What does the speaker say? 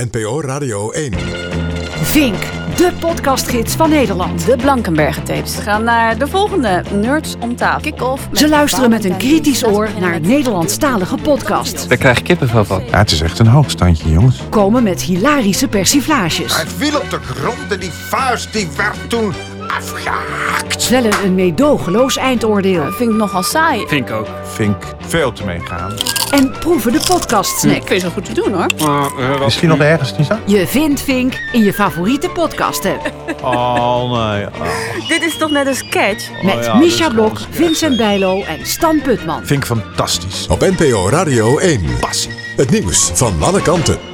NPO Radio 1. Vink, de podcastgids van Nederland. De Blankenbergen tapes. We gaan naar de volgende Nerds om tafel. Kick-off. Ze luisteren met een kritisch oor naar Nederlandstalige podcasts. Daar krijg ik kippenvel van. Ja, het is echt een hoogstandje, jongens. Komen met hilarische persiflages. Hij viel op de grond en die vuist die werd toen afgehaakt. Vellen een meedogenloos eindoordeel. Vind ik nogal saai. Vind ik ook. Vink, veel te meegaan. En proeven de Ik podcastsnack. vind ze goed te doen hoor. Misschien nog ergens, Nisa? Je vindt Vink in je favoriete podcast-app. Oh, nee. Dit is toch net een sketch? Met Misha Blok, Vincent Bijlo en Stan Putman. Vink, fantastisch. Op NPO Radio 1. Passie. Het nieuws van alle kanten.